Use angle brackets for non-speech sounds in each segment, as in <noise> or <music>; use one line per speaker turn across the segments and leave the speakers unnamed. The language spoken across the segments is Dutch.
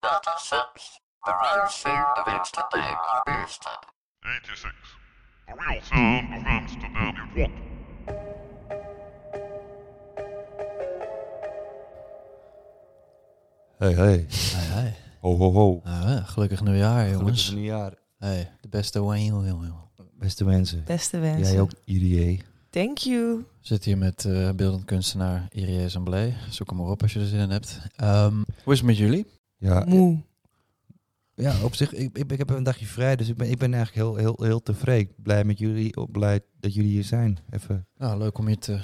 Amsterdam
86. The real sound of Amsterdam is what?
Hey, hey.
Hey,
Ho, ho, ho.
Ah, gelukkig nieuwjaar, jongens.
Gelukkig nieuwjaar.
Hey, de beste Wayne Hill, jongen, jongen.
Beste mensen.
Beste wensen.
Jij ook, E? IDA.
Thank you.
We zitten hier met eh, beeldend kunstenaar Irie Zamblé. Zoek hem maar op als je er zin in hebt. Ehm, hoe is het met jullie?
Ja,
Moe.
ja op zich, ik, ik, ik heb een dagje vrij, dus ik ben, ik ben eigenlijk heel, heel, heel tevreden. Blij met jullie, blij dat jullie hier zijn. Even,
Nou, leuk om je te, a-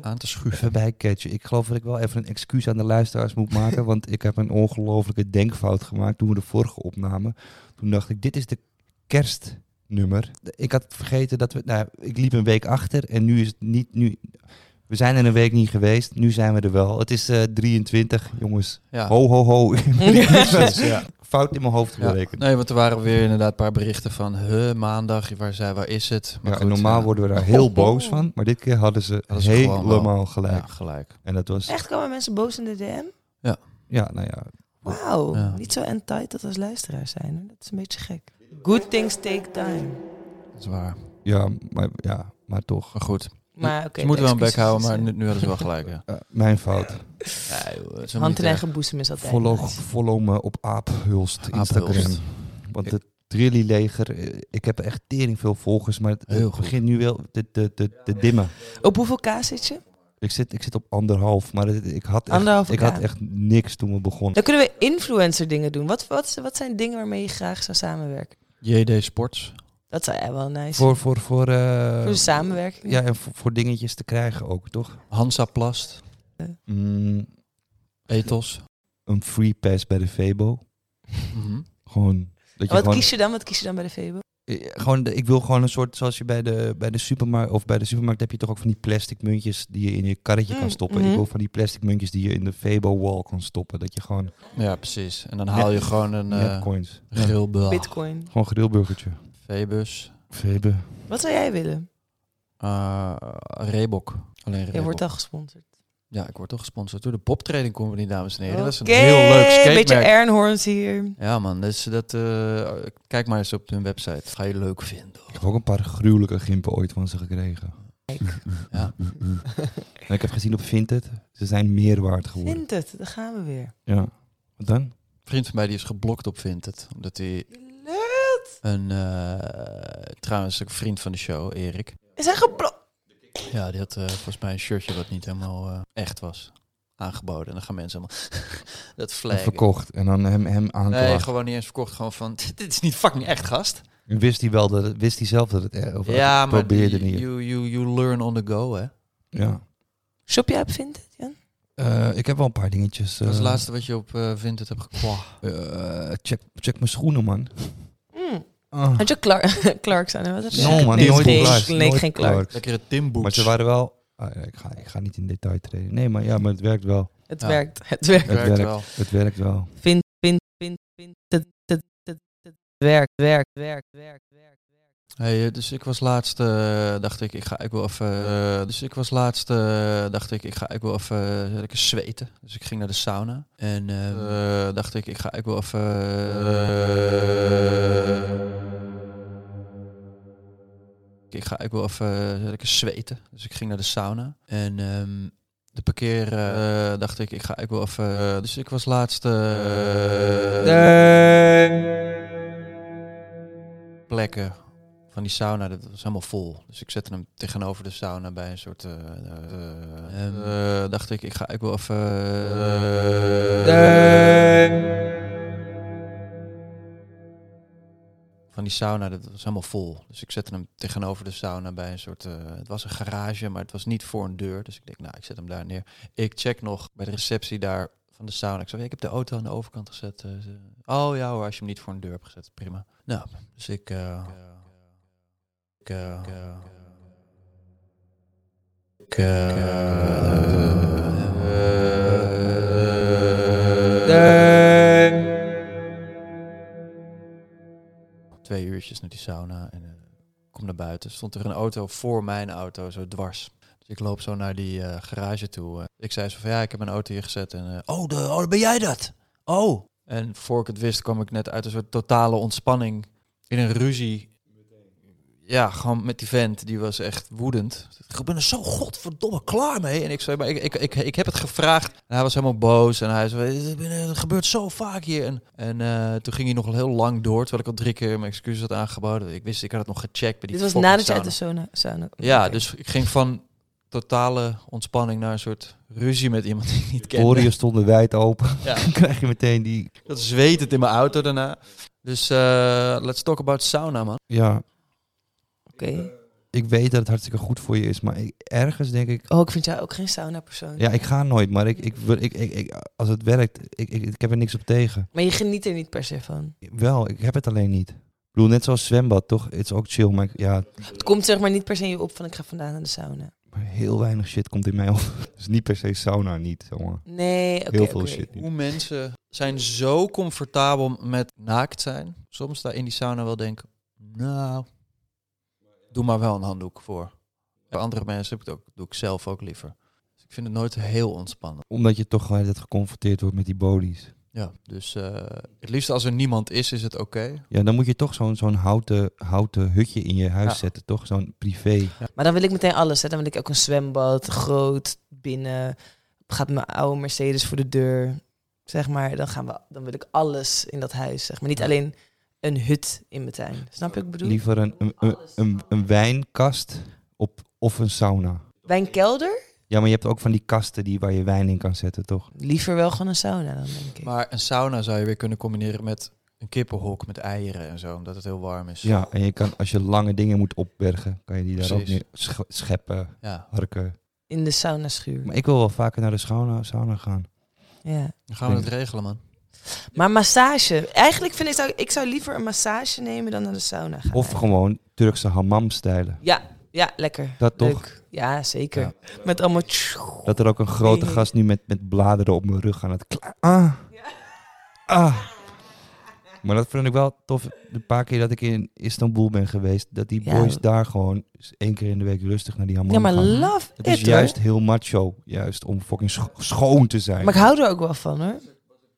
aan te
even
schuiven.
bijcatchen. Ik geloof dat ik wel even een excuus aan de luisteraars moet maken, want ik heb een ongelofelijke denkfout gemaakt toen we de vorige opnamen. Toen dacht ik, dit is de kerstnummer. Ik had vergeten dat we, nou, ik liep een week achter en nu is het niet, nu... We zijn er een week niet geweest, nu zijn we er wel. Het is eh 23, jongens.
Ja.
Ho, ho,
<laughs>
ho. <laughs>
Precies, ja.
Fout in mijn hoofd
Ja.
gerekend.
<laughs> Nee, want er waren weer inderdaad een paar berichten van huh, maandag, waar, zij, waar is het?
Ja,
Maar
en
goed,
normaal
ja.
worden we daar heel boos van, maar dit keer hadden ze
Hadden ze gewoon wel.
helemaal gelijk.
Ja, gelijk.
En dat was,
Echt komen mensen boos in de DM?
ja, nou ja,
Wauw.
Ja.
Niet zo entitled als luisteraars zijn. hè? Dat is een beetje gek. Good things take time.
Dat is waar.
ja, maar, ja, maar toch.
Maar goed,
Maar oké.
ze moeten wel een bek
excuses
houden, maar
zijn-
nu, nu hadden ze wel
<laughs>
gelijk. Ja.
Eh, mijn fout.
Ja, joh, het is
Hand in
niet
eigen boezem is altijd
Follow,
nice.
follow me op Aaphulst Instagram.
Aaphulst.
Want het Trilly leger, ik heb echt tering veel volgers, maar het, het
Heel goed.
begint nu wel te, te, te, te dimmen.
Op hoeveel kaas zit je?
Ik zit, ik zit op anderhalf, maar het- ik, had echt,
Anderhalve
ik had
K.
echt niks toen we begonnen.
Dan kunnen we influencer dingen doen. Wat, wat, wat zijn dingen waarmee je graag zou samenwerken?
echt. JD Sports.
Dat zou echt wel nice. Voor,
Voor, voor, voor, eh,
de samenwerking.
ja, en voor, voor dingetjes te krijgen ook, toch?
Hansa Plast.
Mm,
Ethos.
een free pass bij de Febo.
Mhm.
Gewoon. Dat
En
je
wat
gewoon,
kies je dan? Wat kies je dan bij de Febo?
eh, gewoon de- ik wil gewoon een soort, zoals je bij de, bij de supermarkt, of bij de supermarkt heb je toch ook van die plastic muntjes die je in je karretje kan
Mm,
stoppen.
mhm.
Ik wil van die plastic muntjes die je in de Febo wall kan stoppen. Dat je gewoon
Ja, precies. En dan haal je
Ja.
gewoon een
net
eh
coins. Ja,
grillbel,
Bitcoin.
gewoon grillburgertje.
Febus,
Febe.
Wat zou jij willen?
eh Reebok. Alleen Reebok.
Je wordt al gesponsord.
Ja, ik word toch gesponsord door de Pop Trading Company, dames en heren. Dat is een
Oké,
heel leuk
Beetje
skatemerk.
Ernhorns hier.
Ja man, dus dat, eh, kijk maar eens op hun website. Dat ga je leuk vinden.
Ik heb ook een paar gruwelijke gimpen ooit van ze gekregen. <laughs>
Ja.
En ik heb gezien op Vinted, ze zijn meer waard geworden.
Vindt het, daar gaan we weer.
Ja. Wat dan?
Een vriend van mij die is geblokt op Vinted. Omdat hij
Leuk!
een, eh, trouwens een vriend van de show, Erik.
Is hij geblokt?
Ja, die had eh, volgens mij een shirtje wat niet helemaal eh, echt was. Aangeboden. En dan gaan mensen helemaal <laughs> dat
En
flaggen.
verkocht en dan hem, hem
Nee,
aanklagen.
gewoon niet eens verkocht. Gewoon van, <laughs> dit is niet fucking echt, gast.
wist hij wel dat het, wist hij zelf dat het eh, of
Ja, maar
probeerde
you,
niet.
you, you, you learn on the go, hè.
Ja.
Shop jij op Vinted, Jan?
Eh, ik heb wel een paar dingetjes.
Dat is het
eh,
laatste wat je op eh Vinted hebt gekocht.
eh, check, check mijn schoenen, man.
Mm.
Oh.
Had je Clark, <laughs> Clarks aan? hè? Wat heb je?
No, man.
Nee,
nooit
geen,
Clarks,
nee,
nooit
geen Clark.
Clarks.
Lekkere Timboots.
Maar ze waren wel... ah, ja, ik, ga, ik ga niet in detail treden. Nee, maar ja, maar het werkt wel.
Het
Ja.
werkt, het werkt.
Het werkt.
wel.
Het werkt wel.
Vind, vind, vind, vind. Het, het, het, het werkt, werkt, werkt, werkt, werkt.
Hey, eh, dus ik was laatst, eh, dacht ik, ik ga, ik wil even. eh, dus ik was laatst, eh, dacht ik, ik ga, ik wil even eh, lekker zweten. Dus ik ging naar de sauna en eh, eh, dacht ik, ik ga, ik wil even. eh, ik ga, ik wil even eh, lekker zweten. Dus ik ging naar de sauna en ehm, De parkeer eh, dacht ik, ik ga ik wel even. eh, dus ik was laatst. eh, Plekken van die sauna, dat was helemaal vol. Dus ik zette hem tegenover de sauna bij een soort. eh, eh, en, eh, dacht ik, ik ga ik wel even. eh, van die sauna, dat was helemaal vol. Dus ik zette hem tegenover de sauna bij een soort... eh, het was een garage, maar het was niet voor een deur. Dus ik denk, nou, ik zet hem daar neer. Ik check nog bij de receptie daar van de sauna. Ik zei, ik heb de auto aan de overkant gezet. eh, ze- oh ja hoor, als je hem niet voor een deur hebt gezet, prima. Nou, dus ik... eh, ik, eh, ik, twee uurtjes naar die sauna en eh, ik kom naar buiten. Stond er een auto voor mijn auto, zo dwars. Dus ik loop zo naar die eh, garage toe. eh. ik zei zo van, ja, ik heb mijn auto hier gezet. En, eh, oh, de, oh, ben jij dat? Oh. En voor ik het wist, kwam ik net uit een soort totale ontspanning in een ruzie. Ja, gewoon met die vent, die was echt woedend. Ik ben er zo godverdomme klaar mee. En ik zei, maar ik, ik, ik, ik heb het gevraagd. En hij was helemaal boos. En hij zei, het gebeurt zo vaak hier. En, en eh, toen ging hij nog heel lang door, terwijl ik al drie keer mijn excuses had aangeboden. Ik wist, ik had het nog gecheckt bij die
Dit was
fucking
nadat je uit
sauna.
de sauna... sauna
Ja,
Oké.
dus ik ging van totale ontspanning naar een soort ruzie met iemand die ik niet kende.
Poriën stonden wijd open. <laughs>
Ja.
Dan krijg je meteen die...
Dat zweet het in mijn auto daarna. Dus eh, let's talk about sauna, man.
Ja,
Oké.
ik weet dat het hartstikke goed voor je is, maar ik- ergens denk ik...
Oh, ik vind jou ook geen sauna-persoon.
Ja, ik ga nooit, maar ik, ik, wil- ik, ik, ik- als het werkt, ik, ik, ik heb er niks op tegen.
Maar je geniet er niet per se van.
Wel, ik heb het alleen niet. Ik bedoel, net zoals zwembad, toch? Het is ook chill, maar ik- ja,
Het komt zeg maar niet per se in je op van ik ga vandaan naar de sauna.
maar heel weinig shit komt in mij op. <laughs> Dus niet per se sauna niet, jongen.
Nee, oké.
heel veel
oké.
shit niet.
Hoe mensen zijn zo comfortabel met naakt zijn. Soms daar in die sauna wel denken, nou, doe maar wel een handdoek voor. Bij andere mensen heb ik het ook, doe ik zelf ook liever. Dus ik vind het nooit heel ontspannen.
Omdat je toch altijd geconfronteerd wordt met die bodies.
Ja, dus eh, het liefst als er niemand is, is het oké.
Ja, dan moet je toch zo'n zo'n houten, houten hutje in je huis
Ja.
zetten, toch? Zo'n privé.
Maar dan wil ik meteen alles. Hè. Dan wil ik ook een zwembad, groot, binnen. Gaat mijn oude Mercedes voor de deur. Zeg maar, dan, gaan we, dan wil ik alles in dat huis. Zeg maar. Niet alleen een hut in mijn tuin. Snap je wat ik bedoel?
Liever een, een, een, een, een wijnkast op, of een sauna.
Wijnkelder?
Ja, maar je hebt ook van die kasten die, waar je wijn in kan zetten, toch?
Liever wel gewoon een sauna dan, denk ik.
Maar een sauna zou je weer kunnen combineren met een kippenhok met eieren en zo, omdat het heel warm is.
Ja, en je kan, als je lange dingen moet opbergen, kan je die daar ook
Precies.
neer sch- scheppen,
Ja.
harken.
In de sauna schuur.
Maar ik wil wel vaker naar de sauna, sauna gaan.
Ja.
Dan gaan we het regelen, man.
Maar massage. Eigenlijk vind ik, zou, ik zou liever een massage nemen dan naar de sauna gaan.
Of gewoon Turkse hammam-stijlen.
Ja, ja, lekker.
Dat toch?
Leuk. Ja, zeker. Met allemaal... tjoe.
Dat er ook een grote
Nee.
gast nu met, met bladeren op mijn rug aan het kla- Ah. Ah. Maar dat vond ik wel tof. De paar keer dat ik in Istanbul ben geweest, dat die
Ja.
boys daar gewoon eens één keer in de week rustig naar die hammam
Ja, maar
gaan.
love
Het is
it,
juist
hoor.
heel macho, juist om fucking scho- schoon te zijn.
Maar ik hou er ook wel van, hoor.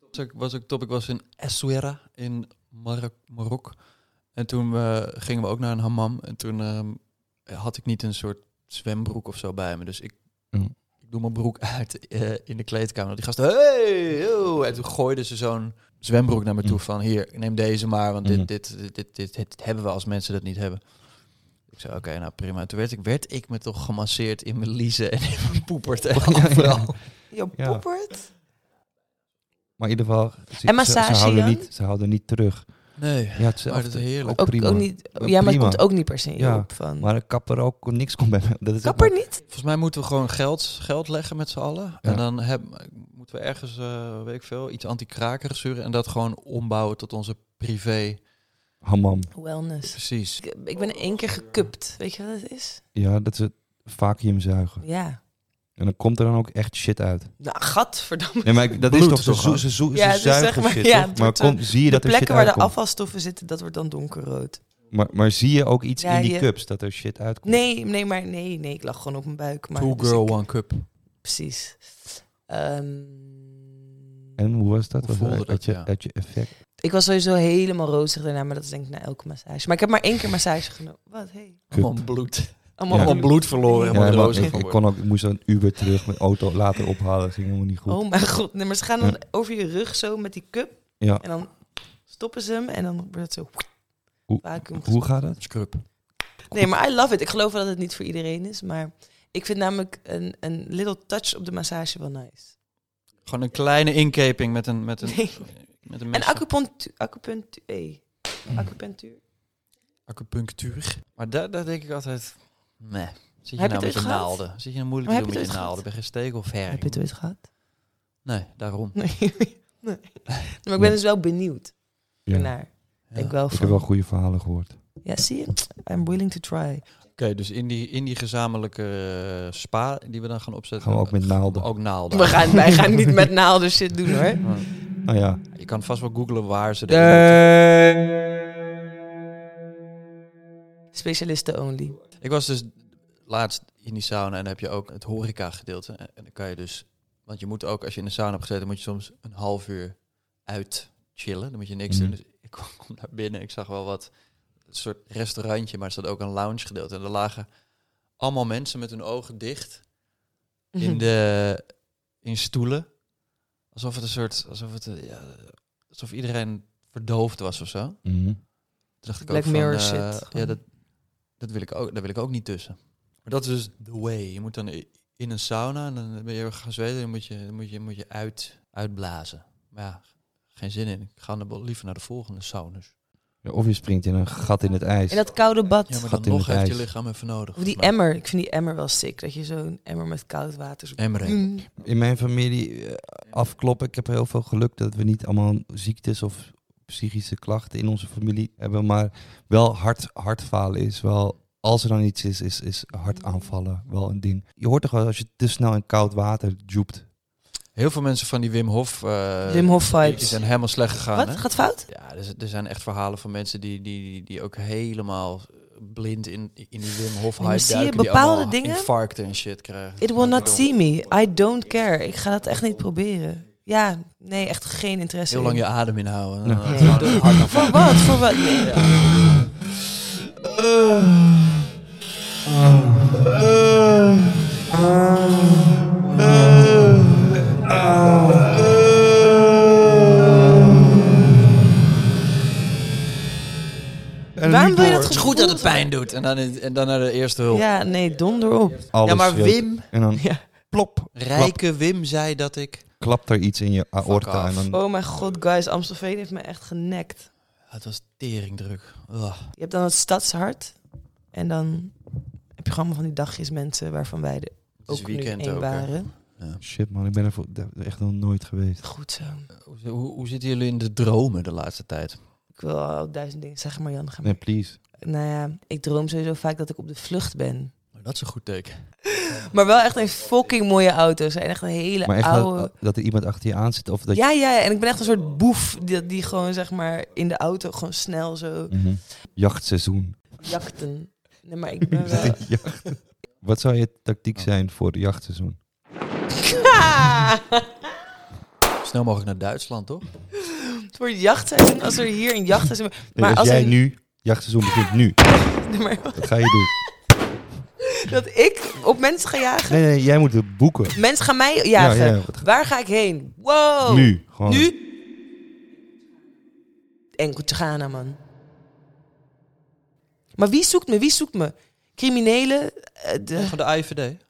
Was ook, was ook top. Ik was in Essaouira in Marok. Marok. En toen eh, gingen we ook naar een hammam. En toen eh, had ik niet een soort zwembroek of zo bij me. Dus ik,
Ja.
ik doe mijn broek uit eh, in de kleedkamer. Die gasten, hey, yo. En toen gooiden ze zo'n zwembroek naar me toe.
Mm.
Van hier, neem deze maar. Want
Mhm.
dit, dit, dit, dit, dit, dit hebben we als mensen dat niet hebben. Ik zei, oké, nou prima. Toen werd ik, werd ik me toch gemasseerd in mijn liezen en in mijn poepert. En
Ja, ja.
overal.
Je
Ja.
poepert.
Maar in ieder geval, ze- ze,
massage,
ze, houden
Jan?
niet, ze houden niet terug.
Nee.
Ja, het
Maar dat is heerlijk.
Ook,
prima.
ook niet, ja,
Maar
maar het
prima.
komt ook niet per se in je
Ja.
op van...
Maar een kapper ook, niks komt bij mij. Dat is ook
Kapper niet?
Volgens mij moeten we gewoon geld, geld leggen met z'n allen. En
Ja.
dan heb, moeten we ergens, eh, weet ik veel, iets anti-kraken sturen. En dat gewoon ombouwen tot onze privé.
maar- hammam.
Wellness.
Precies.
Ik, ik ben één keer gekupt. Weet je wat het is?
Ja, dat ze vacuüm zuigen.
Ja.
En dan komt er dan ook echt shit uit.
Nou, gadverdamme.
Nee, maar ik- dat
Bloed
is toch,
toch
ze, zo,
ook?
ze, zo, ze
Ja, het is
zuigen
zeg maar-
shit,
ja,
toch?
het
Maar
wordt zo-
kom, zie je
De
dat er shit
plekken waar de
uitkomt?
afvalstoffen zitten, dat wordt dan donkerrood.
Maar, maar zie je ook iets
Ja,
in die
je-
cups, dat er shit uitkomt?
Nee, nee, maar nee, nee. Ik lag gewoon op mijn buik. Maar
Two
dus
girl,
ik-
one cup.
Precies. Ehm,
En hoe was dat?
Hoe
Was
voelde
dat
dat,
uit, je,
ja.
uit je effect?
ik was sowieso helemaal rozig daarna, maar dat is denk ik na elke massage. Maar ik heb maar één keer massage genomen. Wat, hey.
Man, bloed.
Allemaal
Ja.
op bloed verloren.
Ja,
helemaal
maar
roze
ik, ik
geworden.
kon ook, ik moest een Uber terug met auto later ophalen. Dat ging helemaal niet goed.
Oh mijn god, nee, maar ze gaan dan over je rug zo met die cup.
Ja.
En dan stoppen ze hem en dan wordt het zo...
Hoe-
vacuüm
Hoe gaat dat?
Scrub.
Nee, maar I love it. Ik geloof wel dat het niet voor iedereen is. Maar ik vind namelijk een, een little touch op de massage wel nice.
Gewoon een kleine inkeping met een... Met een,
Nee.
met een
En
mes.
acupunctuur. Acupunctuur. eh,
Hmm.
Acupunctuur.
acupunctuur. Maar daar, daar denk ik altijd... Nee. Zit je
Heb je het
nou
ooit
met je
gehad?
naalden? Zit je nou moeilijk
Maar
te
heb
doen met
je het
je
ooit
naalden? Ben je geen steek of herring?
Heb je het ooit gehad? <laughs>
Nee, daarom.
Nee. nee. Maar ik ben dus wel benieuwd
Ja.
naar.
Ja.
Ik wel
Ik
van.
heb wel goede verhalen gehoord.
Ja, zie je? I'm willing to try.
Oké, dus in die, in die gezamenlijke eh, spa die we dan gaan opzetten...
Gaan we ook met naalden.
Ook naalden.
We gaan, wij gaan niet met naalden shit doen hoor.
Maar
Nou ja.
Je kan vast wel googlen waar ze... de-
Specialisten only.
Ik was dus laatst in die sauna en dan heb je ook het horeca gedeelte. En dan kan je dus, want je moet ook als je in de sauna hebt gezeten, moet je soms een half uur uit chillen. Dan moet je niks
Mhm.
doen. Dus ik <laughs> kwam kwam naar binnen, ik zag wel wat een soort restaurantje, maar er zat ook een lounge gedeelte. En er lagen allemaal mensen met hun ogen dicht
Mhm.
in, de, in stoelen. Alsof het een soort, alsof het, eh, ja, alsof iedereen verdoofd was of zo.
Mhm.
Toen dacht ik
Black
ook van,
Mirror
eh,
shit,
Ja,
gewoon.
dat, dat wil ik ook, daar wil ik ook niet tussen. Maar dat is dus the way. Je moet dan i- in een sauna en dan ben je heel erg gaan zweten. Dan moet je, dan moet je, moet je uit, uitblazen. Maar ja, geen zin in. Ik ga dan wel liever naar de volgende saunas.
Ja, Of je springt in een gat in het ijs.
In dat koude bad.
Ja, maar
Gat
dan
in
nog
het
heeft je
ijs.
lichaam even nodig.
Of die
Maar-
emmer. Ik vind die emmer wel sick. Dat je zo'n emmer met koud water... Zo...
Emmerring.
Mm.
In mijn familie eh, afkloppen. Ik heb heel veel geluk dat we niet allemaal ziektes of psychische klachten in onze familie hebben. Maar wel hart, hartfalen is wel, als er dan iets is, is, is hartaanvallen wel een ding. Je hoort toch wel als je te snel in koud water joept.
Heel veel mensen van die Wim Hof... eh,
Wim Hof
die- Die
vibes.
zijn helemaal slecht gegaan.
Wat?
hè?
Gaat fout?
Ja, er, z- er zijn echt verhalen van mensen die, die, die ook helemaal blind in, in die Wim Hof
Nee, maar
hype
zie je
duiken. die
bepaalde
allemaal
dingen?
Infarcten en shit krijgen.
It will not see me. I don't care. Ik ga dat echt niet proberen. Ja, nee, echt geen interesse
Heel lang
in.
je adem inhouden.
Ja.
Dan-
Nee.
dan- dan- dan-
Voor wat? Voor wat? Nee. Waarom wil je dat
Het is
gevoel?
goed dat het pijn doet. En dan, en dan naar de eerste hulp. Ja,
Ja, nee, donder op.
Alles
maar
weet-
Wim,
En
<laughs>
dan
Ja.
plop, klap,
rijke Wim zei dat ik...
klapt er iets in je aorta. En
off.
dan,
Oh mijn god, guys. Amstelveen heeft me echt genekt.
Ja, Het was teringdruk. Ugh.
Je hebt dan het stadshart. En dan heb je gewoon allemaal van die dagjes mensen waarvan wij er
Het is
ook nu
weekend
één
ook. hè.
waren.
shit man, ik ben er voor- echt nog nooit geweest.
Goed zo.
Hoe, hoe zitten jullie in de dromen de laatste tijd?
Ik wil ook duizend dingen zeggen, maar Jan, ga
Nee,
maar.
please.
Nou ja, ik droom sowieso vaak dat ik op de vlucht ben.
Dat is een goed teken.
Maar wel echt een fucking mooie auto's. En echt een hele
Maar echt
oude...
dat, dat er iemand achter je aan zit of dat
Ja, ja, en ik ben echt een soort boef die, die gewoon zeg maar in de auto gewoon snel zo
Mhm. Jachtseizoen.
jakten. Nee, maar
<laughs>
ik ben wel...
Wat zou je tactiek zijn voor het jachtseizoen?
Snel mogelijk naar Duitsland, toch?
Voor jachtseizoen, als er hier een jachtseizoen...
Nee,
maar
als, jij
een-
nu, jachtseizoen begint nu,
<laughs> Nee, maar
wat ga je doen?
dat ik op mensen ga jagen.
Nee, nee, jij moet het boeken.
Mensen gaan mij jagen.
Ja, ja, wat ga-
Waar ga ik heen? Wow.
Nu, gewoon.
Nu? Enkeltje Ghana, man. Maar wie zoekt me? Wie zoekt me? Criminelen? eh, de...
Van de IVD.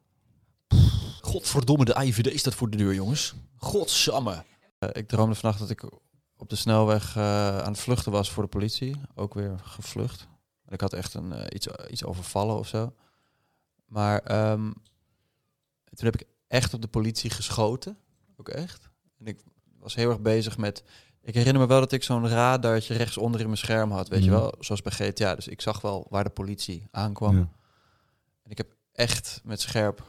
Godverdomme, de IVD staat voor de deur, jongens. Godsamme. Eh, ik droomde vannacht dat ik op de snelweg eh, aan het vluchten was voor de politie. Ook weer gevlucht. Ik had echt een, eh, iets, iets overvallen of zo. Maar ehm, toen heb ik echt op de politie geschoten. Ook echt. En ik was heel erg bezig met... Ik herinner me wel dat ik zo'n radartje rechtsonder in mijn scherm had, weet je
Mhm.
wel? Zoals bij GTA. Dus ik zag wel waar de politie aankwam.
Ja.
En ik heb echt met scherp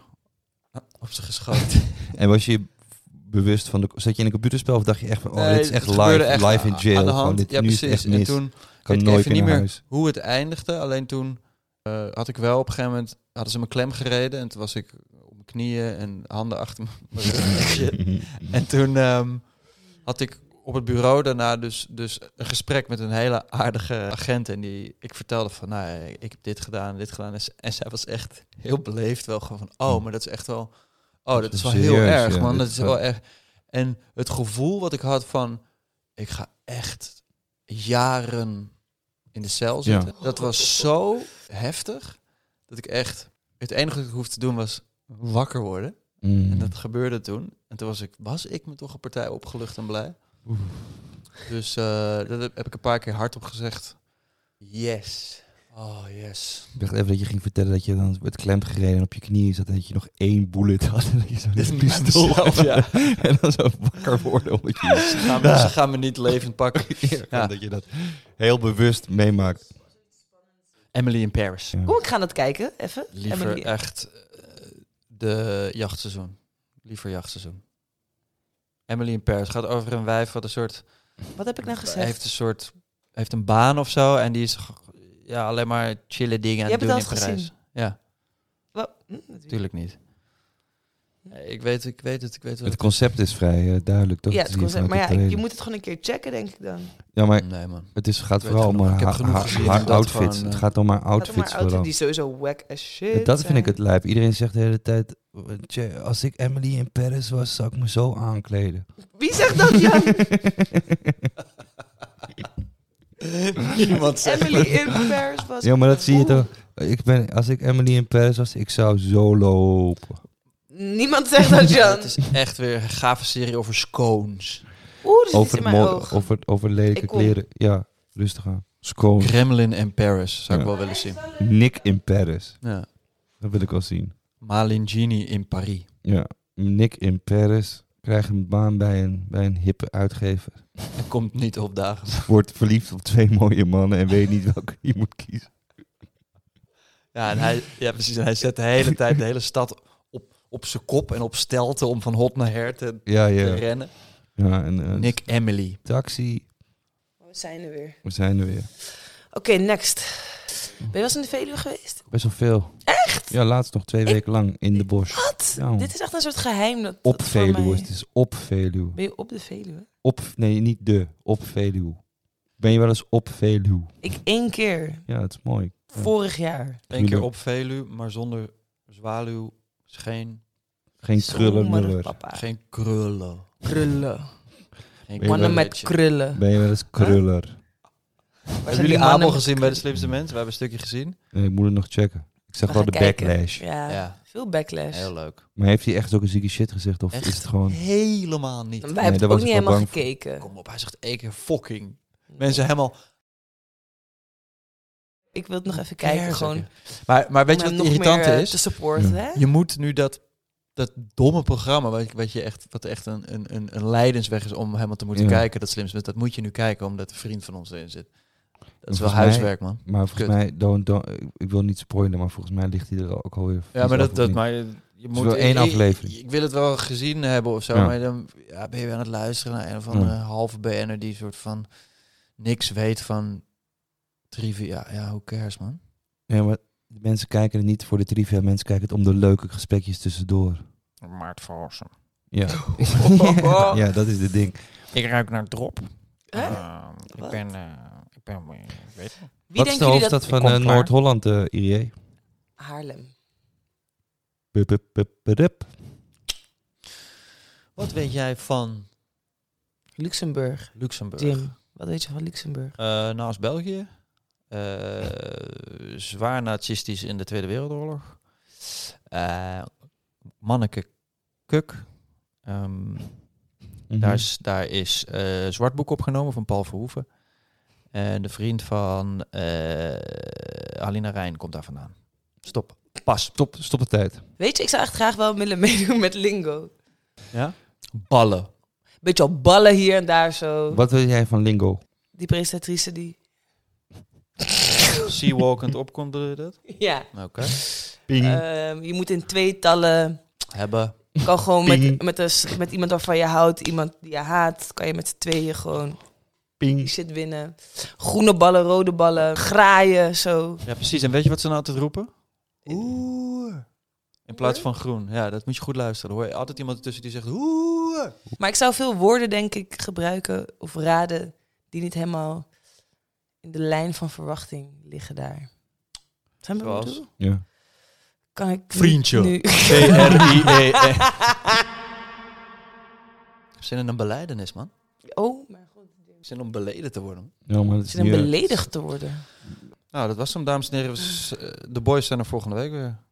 op ze geschoten.
En was je je bewust van de... Zat je in een computerspel of dacht je echt van, <laughs> oh,
Nee,
dit is echt
het gebeurde
live, live in
a-
jail.
Aan de
gewoon,
hand.
dit,
ja,
nu is
precies.
het echt
en
mis.
toen
kan
weet ik
nooit
even
meer naar
niet meer
huis.
hoe het eindigde. Alleen toen eh, had ik wel op een gegeven moment hadden ze mijn klem gereden en toen was ik op mijn <laughs> knieën en handen achter me. en toen ehm, had ik op het bureau daarna dus, dus een gesprek met een hele aardige agent. En die, ik vertelde van, nou, ja, ik heb dit gedaan, dit gedaan. En, ze- en zij was echt heel beleefd wel gewoon van,
Hmm.
oh, maar dat is echt wel... Oh, dat is wel heel
Serieus,
erg,
ja,
man.
dit
Dat
is
is
wel-
wel erg. En het gevoel wat ik had van, ik ga echt jaren in de cel
Ja.
zitten. Dat was zo heftig, dat ik echt... Het enige wat ik hoefde te doen was wakker worden.
Mm.
En dat gebeurde toen. En toen was ik, was ik me toch een partij opgelucht en blij.
Oeh.
Dus eh, dat heb heb ik een paar keer hardop gezegd. Yes. Oh, yes.
<laughs> Ik dacht even dat je ging vertellen dat je dan werd klem gereden en op je knieën zat en dat je nog één bullet had <laughs> en dat je
Dit is
zo'n
met
pistool
mezelf, <laughs>
had.
ja.
<laughs> en dan zo wakker worden omdat je
Ze gaan, me, ze gaan me niet levend pakken. <laughs>
<laughs>
Ja.
dat je dat heel bewust meemaakt.
Emily in Paris.
Ja.
Kom, ik ga dat kijken, even.
Liever
Emily.
echt eh, de jachtseizoen. Liever jachtseizoen. Emily in Paris gaat over een wijf wat een soort
Wat heb ik nou gezegd?
heeft een soort heeft een baan of zo en die is g- ja alleen maar chille dingen aan
Je
het
hebt
doen
het
in
al
Parijs.
eens gezien?
Ja,
Wa- hm, dat-
natuurlijk niet. Eh, Ik weet, ik weet het, ik weet
Het
het.
concept is vrij eh, duidelijk, toch?
ja,
Het
het
is hier
concept. Maar
vanuit de
ja, ik- je
trailer.
moet het gewoon een keer checken, denk ik dan.
Ja, maar
Nee man.
het is, gaat
weet
vooral om
genoeg.
haar,
Ik heb
haar,
genoeg gezien
haar
en dat
outfits.
gewoon,
het
eh,
gaat om haar
Laat het
outfits
maar auto
vooral.
die sowieso whack as shit.
Dat vind
zijn.
ik het lijp. Iedereen zegt de hele tijd, "Tje, als ik Emily in Paris was, zou ik me zo
<laughs>
aankleden.
Wie zegt
<laughs>
dat, Jan?
Niemand
Emily in Paris was...
Ja, maar dat zie je toch. Ik ben, als ik Emily in Paris was, ik zou zo lopen.
Niemand zegt
<laughs>
dat, Jan.
Het is echt weer een gave serie over scones.
Oeh, er <laughs> zit iets
Over,
in
het
mijn
mo-
oog.
over, over lelijke
Ik kom.
kleren. Ja, rustig aan. Schoon.
Kremlin en Paris zou ik
Ja.
wel willen zien.
Nick in Paris.
Ja.
Dat wil ik wel zien.
Malingini in Paris.
Ja. Nick in Paris krijgt een baan bij een, bij een hippe uitgever.
En komt niet opdagen.
Wordt verliefd op twee mooie mannen en weet niet welke je moet kiezen.
Ja, en hij, ja precies. En hij zet de hele tijd de hele stad op, op zijn kop en op stelten om van hot naar her te,
Ja,
te
ja.
rennen.
ja en, eh,
Nick Emily.
Taxi.
We zijn er weer.
We zijn er weer.
Oké, next. Ben je wel eens in de Veluwe geweest?
Best wel veel. Echt? Ja, laatst nog twee
Ik-
weken lang in de bos.
Wat?
Ja.
Dit is echt een soort geheim. Dat,
Op
dat voor mij-
Veluwe. Het is op Veluwe.
Ben je op de Veluwe?
Op, nee, niet de. Op Veluwe. Ben je wel eens op Veluwe?
Ik één keer.
Ja, dat is mooi. Ja.
Vorig jaar.
Eén keer op Velu, maar zonder zwaluw, is geen,
Geen
Zomer,
krullen, muller.
papa.
geen krullen.
Krullen.
Geen
Ben je
Mannen
wel-
met krullen.
Ben je wel eens kruller?
Waar
Hebben
zijn die
jullie
mannen
Abel
met
gezien bij de
krullen?
slimste mensen? We hebben een stukje gezien.
Nee, ik moet het nog checken. Ik zag
We
wel de
gaan kijken.
backlash.
Ja,
Ja.
veel backlash.
Heel leuk.
Maar heeft hij echt ook een zieke shit gezegd? Of
Echt?
is het gewoon...
Helemaal niet.
Wij
Nee,
hebben
daar
het
was
ook
ik
niet
wel
helemaal
bang voor.
gekeken.
Kom op, hij zegt één keer fucking. Mensen helemaal...
Ik wil het nog even kijken,
Ja,
gewoon.
Maar, maar weet
om
je
hem
wat het
nog
irritant
meer, eh, te
is?
supporten,
Ja.
hè?
Je moet nu dat, dat domme programma, wat, wat, je echt, wat echt een, een, een, een leidensweg is om helemaal te moeten
Ja.
kijken, dat slimste mensen, dat moet je nu kijken, omdat een vriend van ons erin zit. Dat is wel
Volgens mij-
huiswerk, man.
Maar volgens
Kut.
mij... Don't, don't- ik- ik wil niet spoilen, maar volgens mij ligt hij er ook alweer...
Ja, maar
vanzelf
dat,
of
dat
niet.
maar je je moet
wel één
ik-
aflevering.
Ik, ik wil het wel gezien hebben of zo,
Ja.
maar dan ja, ben je weer aan het luisteren naar een of andere halve BN'er die soort van niks weet van trivia. Ja, hoe cares man?
Ja, maar de mensen kijken het niet voor de trivia. Mensen kijken het om de leuke gesprekjes tussendoor.
Maart Valsen.
Ja. ja, dat is het ding.
Ik ruik naar drop.
Hè? Wat?
ik ben, eh, ik ben, ik weet
Wat
Wie
is de
denken jullie dat...
hoofdstad van
Kom
eh,
klaar.
Noord-Holland, eh Irie?
Haarlem.
Pup, pup, pup, pup, pup.
Wat weet jij van
Luxemburg.
Luxemburg?
Jim, wat weet je van Luxemburg?
Eh, naast België. Eh, zwaar nazistisch in de Tweede Wereldoorlog. Eh manneke Kuk. Ehm,
Mhm.
Daar is, daar is eh, zwart boek opgenomen van Paul Verhoeven. En de vriend van eh Alina Rijn komt daar vandaan. Stop. Pas.
Stop, stop de tijd.
Weet je, ik zou echt graag wel willen <laughs> meedoen met lingo.
Ja? Ballen.
Beetje op ballen hier en daar zo.
Wat wil jij van Lingo?
Die presentatrice die...
Seawalkend opkomt, bedoel je dat?
Ja.
<laughs> Oké.
Mhm.
Ehm, je moet in tweetallen...
Hebben.
Kan gewoon met,
Ping.
met, een s- met iemand waarvan je houdt, iemand die je haat, kan je met z'n tweeën gewoon die
Ping.
shit winnen. Groene ballen, rode ballen, graaien, zo.
Ja, precies. En weet je wat ze nou altijd roepen? Oeh. In In plaats van groen. Ja, dat moet je goed luisteren. Dan hoor je altijd iemand ertussen die zegt... Oeh.
Maar ik zou veel woorden, denk ik, gebruiken of raden die niet helemaal in de lijn van verwachting liggen daar. Zijn we
Zoals?
bedoel?
Ja.
Kan ik niet
Vriendje.
Nu?
V-R-I-E-E. <laughs> Zin in een beleidenis, man.
Oh, mijn god.
Zin om beleden te worden.
ja, maar dat
Ik
is
zit hem
niet erg.
beledigd te worden.
Nou, dat was hem, dames en heren. We s- eh, De boys zijn er volgende week weer.